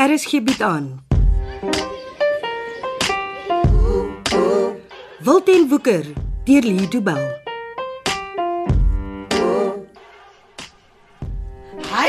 RSG bied Er aan. Wilten Woeker deur Lee Du Bell. Hy,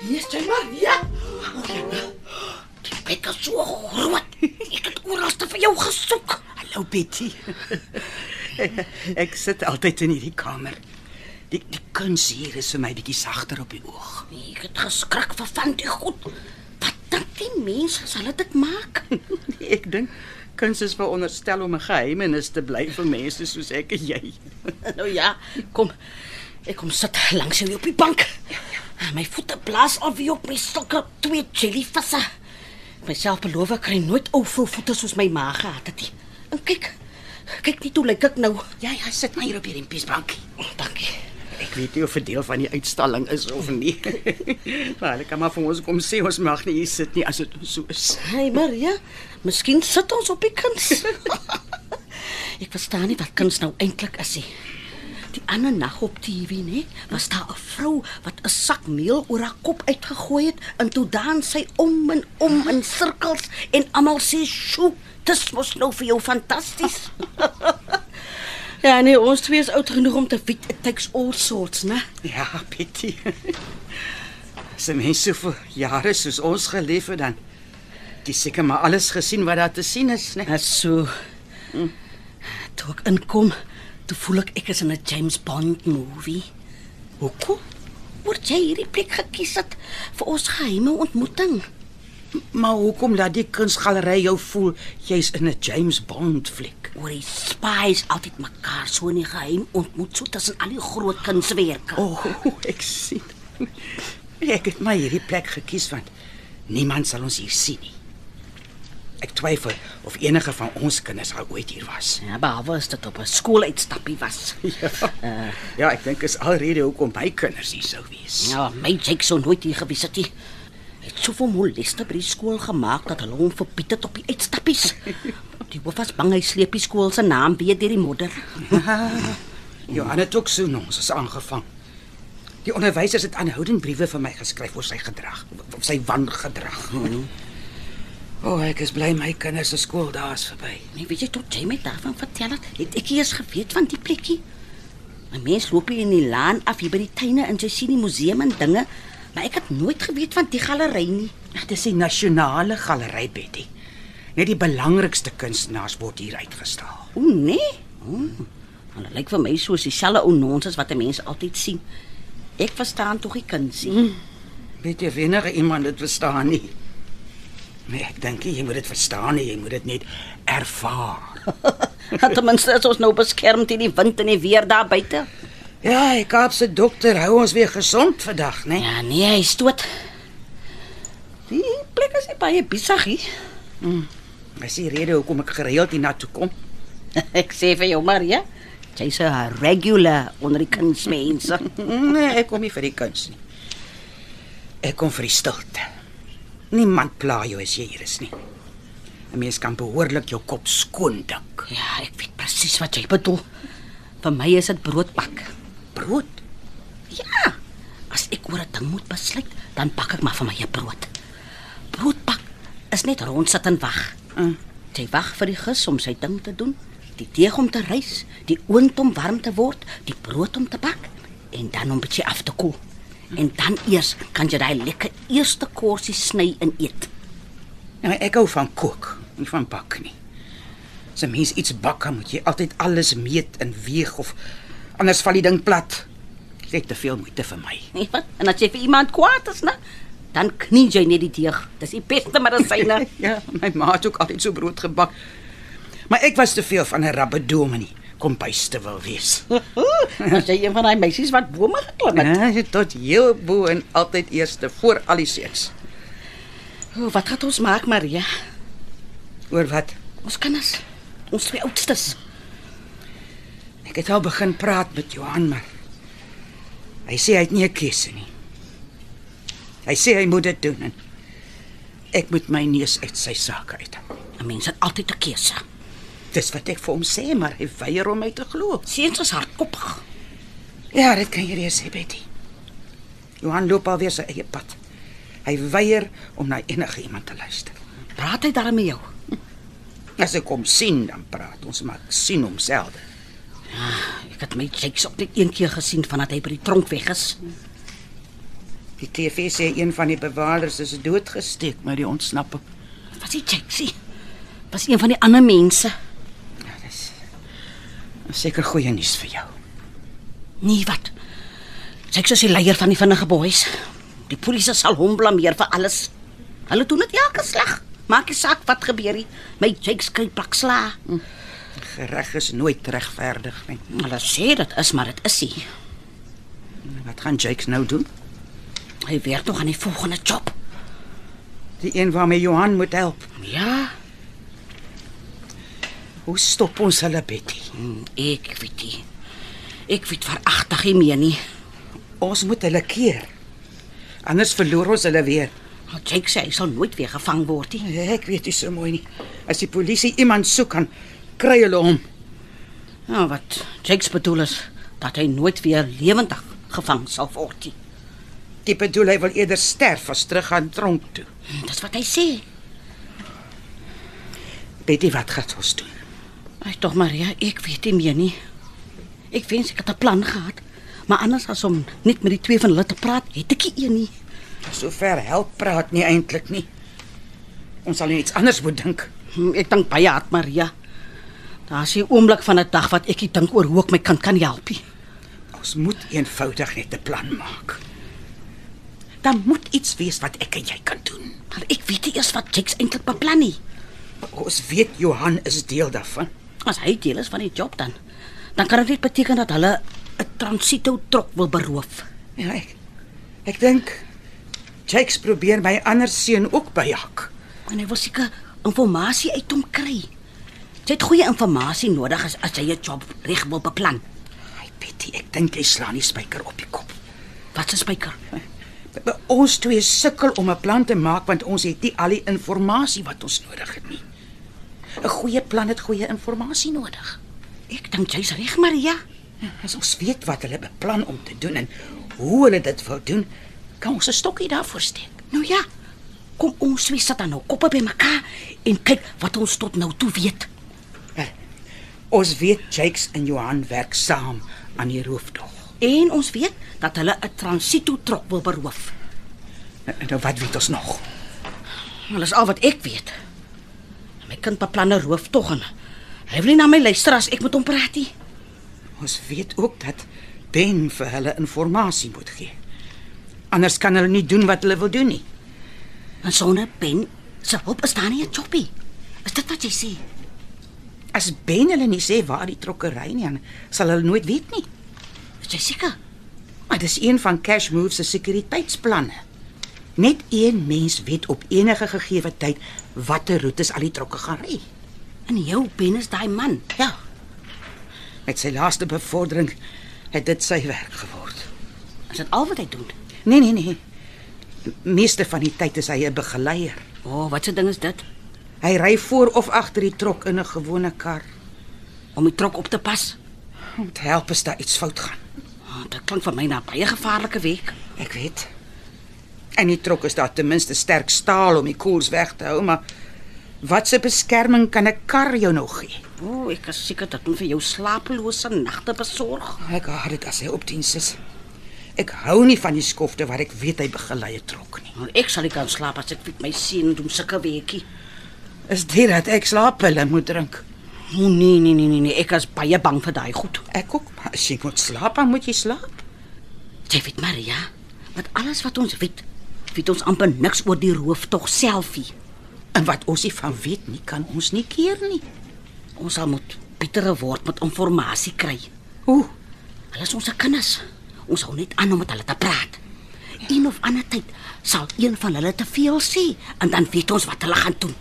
hier staan maar weer. Die bek is so groot. Ek het oral te vir jou gesoek. Hallo Betty. ek sit altyd in hierdie kamer. Die die kuns hier is vir my bietjie sagter op die oog. Nee, Ek het geskrik vir van die goed. Wat dink die mense sal dit maak? Nee, ek dink kuns is veronderstel om 'n geheimenis te bly vir mense soos ek en jy. Nou ja, kom. Ek kom sit langs jou op die bank. My voete blaas af wie op my sulke twee jellyvisse. Ek Myself beloof ek kry nooit ou vol voete soos my ma gehad het nie. En kyk, kyk net hoe lyk ek nou. Ja ja, sit maar hier op hierdie piesbankie. Dankie. Ek weet nie of dit deel van die uitstalling is of nie. maar hulle kan maar vir ons kom sê ons mag nie hier sit nie as dit so is. Hey Maria, miskien sit ons op die kuns. ek verstaan nie wat kuns nou eintlik is nie. Die ander nag op TV, nê, was daar 'n vrou wat 'n sak meel oor haar kop uitgegooi het en toe dans sy om en om in sirkels en almal sê, "Sjoe, dis mos nou vir jou fantasties." ja, nee, ons twee is oud genoeg om te weet it takes all sorts, né? Ja, Betty. As 'n mens so vir jare soos ons geleef het dan het jy seker maar alles gesien wat daar te sien is, né? Dis so. Toe ek inkom, toe voel ek ek is in 'n James Bond movie. Hoekom? Word jy hierdie plek gekies het vir ons geheime ontmoeting? Maar hoekom laat die kunsgalery jou voel jy's in 'n James Bond fliek? Oor die spies altyd mekaar so in die geheim ontmoet, so tussen al die groot kunswerke. O, oh, ek sien. Ek het maar hierdie plek gekies want niemand sal ons hier sien nie. Ek twyfel of enige van ons kinders al ooit hier was. Ja, behalwe as dit op 'n skooluitstappie was. Ja, ja ek dink is alrede hoekom my kinders hier sou wees. Ja, my Jake sou nooit hier gewees het nie. Hy het soveel moleste by die skool gemaak dat hulle hom verbied het op die uitstappies. Die hoof was bang hy sleep die skool se naam weer deur die modder. Johan het ook so ons is aangevang. Die onderwysers het aanhoudend briewe vir my geskryf oor sy gedrag, oor sy wangedrag. O, oh, Mhm. ek is bly my kinders se skool daar is verby. Nee, weet jy tot jy my daarvan vertel het, het ek eers geweet van die plekkie. 'n Mens loop hier in die laan af hier by die tuine en jy sien die museum en dinge, maar ek het nooit geweet van die galery nie. Ja, Dis die nasionale galery Betty. Net die belangrikste kunstenaars word hier uitgestal. O nee. Hmm. Hulle lyk vir my soos dieselfde ou nonsens wat 'n mens altyd sien. Ek verstaan tog die kunsie. Mm. Weet jy enige iemand dit verstaan nie? Nee, ek dink nie jy moet dit verstaan nie, jy moet dit net ervaar. Ten minste is ons nou beskerm teen die wind en die weer daar buite. Ja, die Kaapse dokter hou ons weer gesond vandag, né? Ja, nee, hy stoot. Die plek is nie baie besig hier. Dis die rede hoekom ek gereeld hiernatoe kom. Ek sê vir jou Maria, jy's 'n regular onder die kunstmense. Nee, ek kom nie vir die kuns nie. Ek kom vir die stilte. Niemand pla jou as jy hier is nie. 'n Mens kan behoorlik jou kop skoon dik. ja, ek weet presies wat jy bedoel. Vir my is dit broodbak. Brood. Ja. As ek oor 'n ding moet besluit, dan pak ek maar vir my 'n brood. Broodbak is net rond sit en wag. Mm. Jy wag vir die gis om sy ding te doen, die deeg om te rys, die oond om warm te word, die brood om te bak en dan om bietjie af te koel. En dan eers kan jy daai lekker eerste korsie sny en eet. Nou, ek hou van kook, nie van bak nie. As 'n mens iets bak, dan moet jy altyd alles meet en weeg of anders val die ding plat. Ek het te veel moeite vir my. Nee, wat? En as jy vir iemand kwaad is, né? Dan knie jy net die deeg. Dis die beste medisyne. Ja, my ma het ook altyd so brood gebak. Maar ek was te veel van 'n rabbedominee kom bys te wil wees. As jy een van daai meisies wat bome geklim het. Ja, tot heel bo en altyd eerste voor al die seuns. O, wat gaan ons maak, Maria? Oor wat? Ons kinders, ons twee oudstes. Ek het al begin praat met Johan, maar hy sê hy het nie 'n keuse nie. Hy sê hy moet dit doen en ek moet my neus uit sy saak uit. 'n Mens het altyd 'n keuse. Dis wat ek vir hom sê, maar hy weier om my te glo. Seuns is hardkoppig. Ja, dit kan jy reeds sê, Betty. Johan loop alweer sy eie pad. Hy weier om na enige iemand te luister. Praat hy daarmee jou? As ek hom sien, dan praat ons, maar ek sien hom selde. Ek het my Jakes op net een keer gesien vandat hy by die tronk weg is. Die TV sê een van die bewaarders is doodgesteek met die ontsnapping. Was hy Jakes? Was een van die ander mense? Ja, dis dis nou seker goeie nuus vir jou. Nee, wat? Jakes is die leier van die vinnige boeis. Die polisie sal hom blameer vir alles. Hulle doen dit elke slag. Maak nie saak wat gebeur nie. My Jakes kry plaksla. Gereg is nooit regverdig nie. Hulle sê dit is, maar dit is nie. Wat gaan Jakes nou doen? Hy werk nog aan die volgende job. Die een waarmee Johan moet help. Ja, Hoe stop ons hulle Betty? hm, ek weet nie. Ek weet veragtig nie meer nie. Ons moet hulle keer. Anders verloor ons hulle weer. Maar Jake sê hy sal nooit weer gevang word nie. Ek weet nie so mooi nie. As die polisie iemand soek, kan kry hulle hom. Ja, wat Jake bedoel is dat hy nooit weer lewendig gevang sal word nie. Jy bedoel hy wil eerder sterf as teruggaan tronk toe. Hm, Dis wat hy sê. Betty, wat gaan ons doen? Ai tog Maria, ek weet nie meer nie. Ek wens ek het 'n plan gehad, maar anders as om net met die twee van hulle te praat, het ek nie een nie. Sover help praat nie eintlik nie. Ons sal nie iets anders moet dink. Hm, Ek dink baie hard Maria. Daar's 'n oomblik van 'n dag wat ek nie dink oor hoe ek my kind kan help nie. Ons moet eenvoudig net 'n plan maak. Dan moet iets wees wat ek en jy kan doen. Maar ek weet nie eers wat Jake eintlik beplan nie. Ons weet Johan is deel daarvan. As hy deel is van die job dan, dan kan dit net beteken dat hulle 'n transito trok wil beroof. Ja, ek ek dink Jakes probeer my ander seun ook byhak. En hy wil seker inligting uit hom kry. Jy het goeie inligting nodig as, as jy 'n job reg wil beplan. Ai Betty, ek dink jy slaan die spyker op die kop. Wat 'n spyker. B- b- Ons twee sukkel om 'n plan te maak want ons het nie al die inligting wat ons nodig het nie. 'n Goeie plan het goeie inligting nodig. Ek dink jy's reg, Maria. As ons weet wat hulle beplan om te doen en hoe hulle dit wil doen, kan ons 'n stokkie daarvoor steek. Nou ja, kom ons twee sit dan nou koppe bymekaar en kyk wat ons tot nou toe weet. Wel, Eh, Ons weet Jakes en Johan werk saam aan die roofdog. En ons weet dat hulle 'n transito trok wil beroof. En en nou wat weet ons nog? Dit is al wat ek weet. My kind beplan 'n rooftog en hy wil nie na my luister as ek met hom praat nie. Ons weet ook dat Ben vir hulle inligting moet gee. Anders kan hulle nie doen wat hulle wil doen nie. En sonder Ben se hulp is daar nie 'n jobbie. Is dit wat jy sê? As Ben hulle nie sê waar die trokkery nie, dan sal hulle nooit weet nie. Is jy seker? Maar dis een van Cash Move se sekuriteitsplanne. Net een mens weet op enige gegee tyd watter roetes al die trokke gaan ry. En jou Ben is daai man. Ja. Met sy laaste bevordering het dit sy werk geword. Is dit al wat hy doen? Nee, nee, nee. Meeste van die tyd is hy 'n begeleier. O, oh, wat 'n ding is dit? Hy ry voor of agter die trok in 'n gewone kar Om die trok op te pas. om te help as daar iets fout gaan. Oh, dit klink vir my na 'n baie gevaarlike week. Ek weet. En die trok is daar ten minste sterk staal om die koels weg te hou, maar watse beskerming kan 'n kar jou nou gee? O, oh, ek is seker dat hom vir jou slapelose nagte besorg. Ek haat dit as hy op diens is. Ek hou nie van die skofte wat ek weet hy begeleie trok nie. Want ek sal nie kan slaap as ek met my seun doen sulke weekie. Is dit dat ek slaappille moet drink? O oh, nee, nee, nee, nee, nee, ek is baie bang vir daai goed. Ek ook, maar as jy moet slaap, dan moet jy slaap. Jy weet Maria, met alles wat ons weet, weet ons amper niks oor die rooftog selfie. En wat ons nie van weet nie, kan ons nie keer nie. Ons sal moet betere word met inligting kry. Hoe? Hulle is ons kinders. Ons hou net aan om met hulle te praat. Een of ander tyd sal een van hulle te veel sê en dan weet ons wat hulle gaan doen.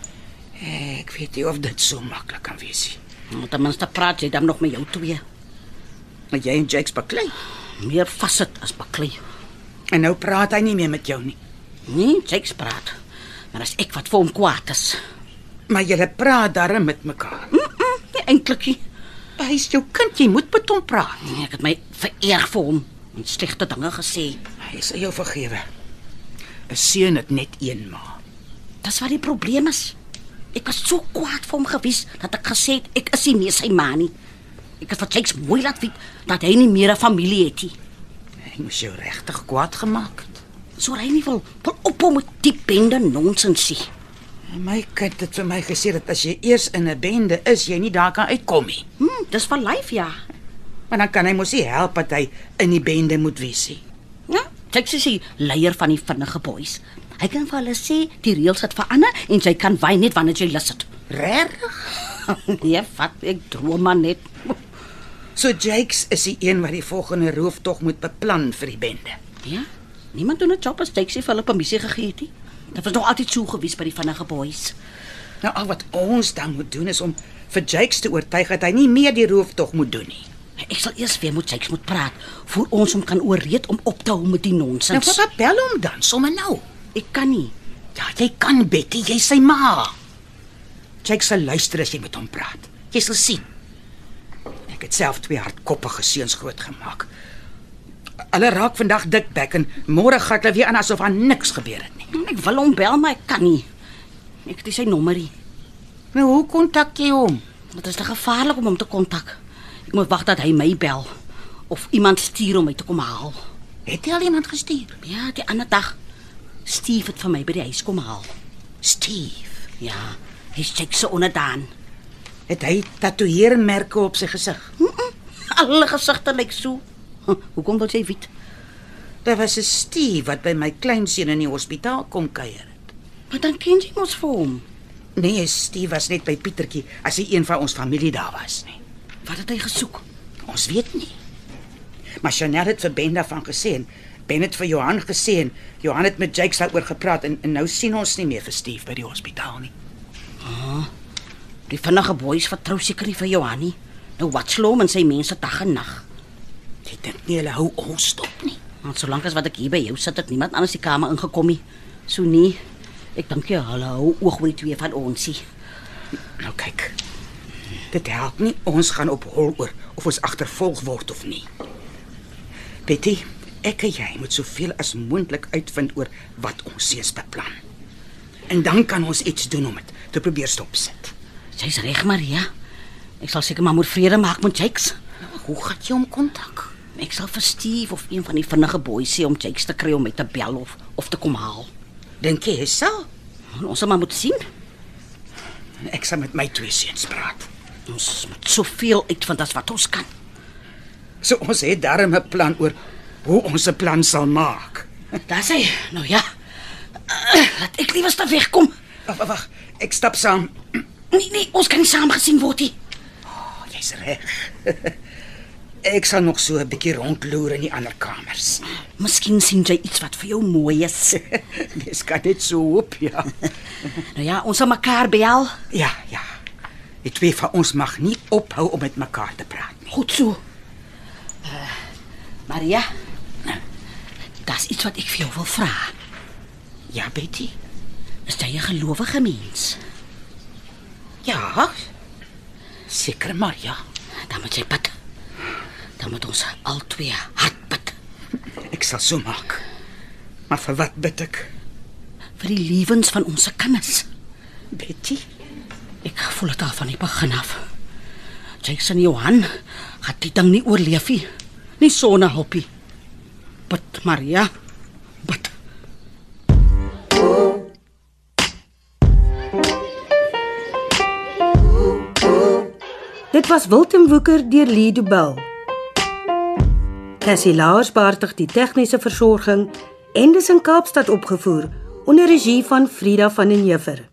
Ek weet nie of dit so maklik kan wees nie. Want ten minste praat jy dan nog met jou twee. Maar jy en Jakes baklei. Meer vassit as baklei. En nou praat hy nie meer met jou nie. Nee, Jakes praat. Maar as ek wat vir hom kwaad is. Maar julle praat darm met mekaar. Mm -mm, nie eintlik nie. Hy's jou kind, jy moet met hom praat. Nee, ek het my vererg vir hom en slegte dinge gesê. Hy sal jou vergewe. 'n Seun het net een ma. Dis wat die probleem is. Ek was so kwaad vir hom gewees dat ek gesê het ek is nie meer sy ma nie. Ek het vir Jakes mooi laat weet dat hy nie meer 'n familie het nie. Ek moes jou regtig kwaad gemaak het. So hy nie wil wil ophou met die bende nonsensie. My kind het vir my gesê dat as jy eers in 'n bende is, jy nie daar kan uitkom nie. Hm, dis vir lyf ja. Maar dan kan hy mos nie help dat hy in die bende moet wees nie. Ja, Jakes is die leier van die vinnige boeis. Hy kan vir hulle sê die reëls het verander en jy kan wy net wanneer jy lus het. Regtig? nee, wat ek droom maar net. So Jakes is die een wat die volgende rooftog moet beplan vir die bende. Ja. Niemand doen 'n job as Jakes nie vir hulle permissie gegee het nie. Dit was nog altyd so gewees by die vinnige boeis. Nou al wat ons dan moet doen is om vir Jakes te oortuig dat hy nie meer die rooftog moet doen nie. Ek sal eers weer met Jakes moet praat voor ons hom kan ooreed om op te hou met die Nou nonsens. papa bel hom dan sommer nou. ek kan nie. Ja, jy kan Betty, jy's sy ma. Jakes sal luister as jy met hom praat. Jy sal sien. Ek het self twee hardkoppige seuns grootgemaak. Hulle raak vandag dikbek en môre gaan hulle weer aan asof aan niks gebeur het nie. Ek wil hom bel maar ek kan nie. Ek het nie sy nommerie. Nou hoe kontak jy hom? Dit is te gevaarlik om hom te kontak. Ek moet wag dat hy my bel of iemand stuur om my te kom haal. Het jy al iemand gestuur? Ja, die ander dag Steve het vir my by die huis kom haal. Steve. Ja, hy's Jakes se onderdaan. Het hy tatoeëermerke op sy gesig? Alle gesigte lyk so. Huh, Hoekom wil jy weet? Daar was 'n Steve wat by my kleinseun in die hospitaal kom kuier. Maar dan ken jy mos vir hom. Nee, Steve was net by Pietertjie as hy een van ons familie daar was nee. nie. Wat het hy gesoek? Ons weet nie. Maar Chanel het vir Ben daarvan gesê en Ben het vir Johan gesê en Johan het met Jake daaroor gepraat en, en nou sien ons nie meer vir Steve by die hospitaal nie. Die vinnige boeis vertrou seker nie vir Johanie. Nou wat slom en sy mense dag en nag. Ek dink nie hulle hou ons dop nie. Want solank as wat ek hier by jou sit, het niemand anders die kamer ingekom nie. So nie. Ek dink jy hulle hou oog oor die twee van ons hier. Nou kyk. Dit help nie ons gaan op hol oor of ons agtervolg word of nie. Betty, ek en jy moet soveel as moontlik uitvind oor wat ons seens beplan. En dan kan ons iets doen om dit te probeer stopsit. Sy's reg, Maria. Ek sal seker maar moet vrede maak met Jakes. Hoe gaan jy hom kontak? Ek sal vir Steve of een van die vinnige boeis sê om Jakes te kry om my te bel of of te kom haal. Dink jy hy sal? En ons sal maar moet sien. Ek sal met my twee seuns praat. Ons moet soveel uitvind as wat ons kan. So ons het darm 'n plan oor hoe ons 'n plan sal maak. Daar's hy. Nou ja. Laat ek liewer stap wegkom. Wag, wag, wag. Ek stap saam. Nee nee, ons kan nie saam gesien word nie. Oh, Jy's reg. Ek sal nog so 'n bietjie rondloer in die ander kamers. Miskien sien jy iets wat vir jou mooi is. Mens kan net so hoop, ja. nou ja, ons sal mekaar bel. Ja, ja. Die twee van ons mag nie ophou om met mekaar te praat nie. Goed so. Uh, Eh, Maria. Daar's iets wat ek vir jou wil vra. Ja, Betty. Is jy 'n gelowige mens? Ja. Seker maar, ja. Dan moet jy bid. Dan moet ons albei hard bid Ek sal so maak. Maar vir wat bid ek? vir die lewens van ons kinders. Betty, Ek voel dit al van die begin af. Jackson Johan het dit ding nie oorleef nie. Nie sonder hulpie. Bid Maria. Bid. Dit was Wilten Woeker deur Lee Du Bell. Cassie Lars beheer die tegniese versorging en dit is in Kaapstad opgevoer onder regie van Frida van den Heever.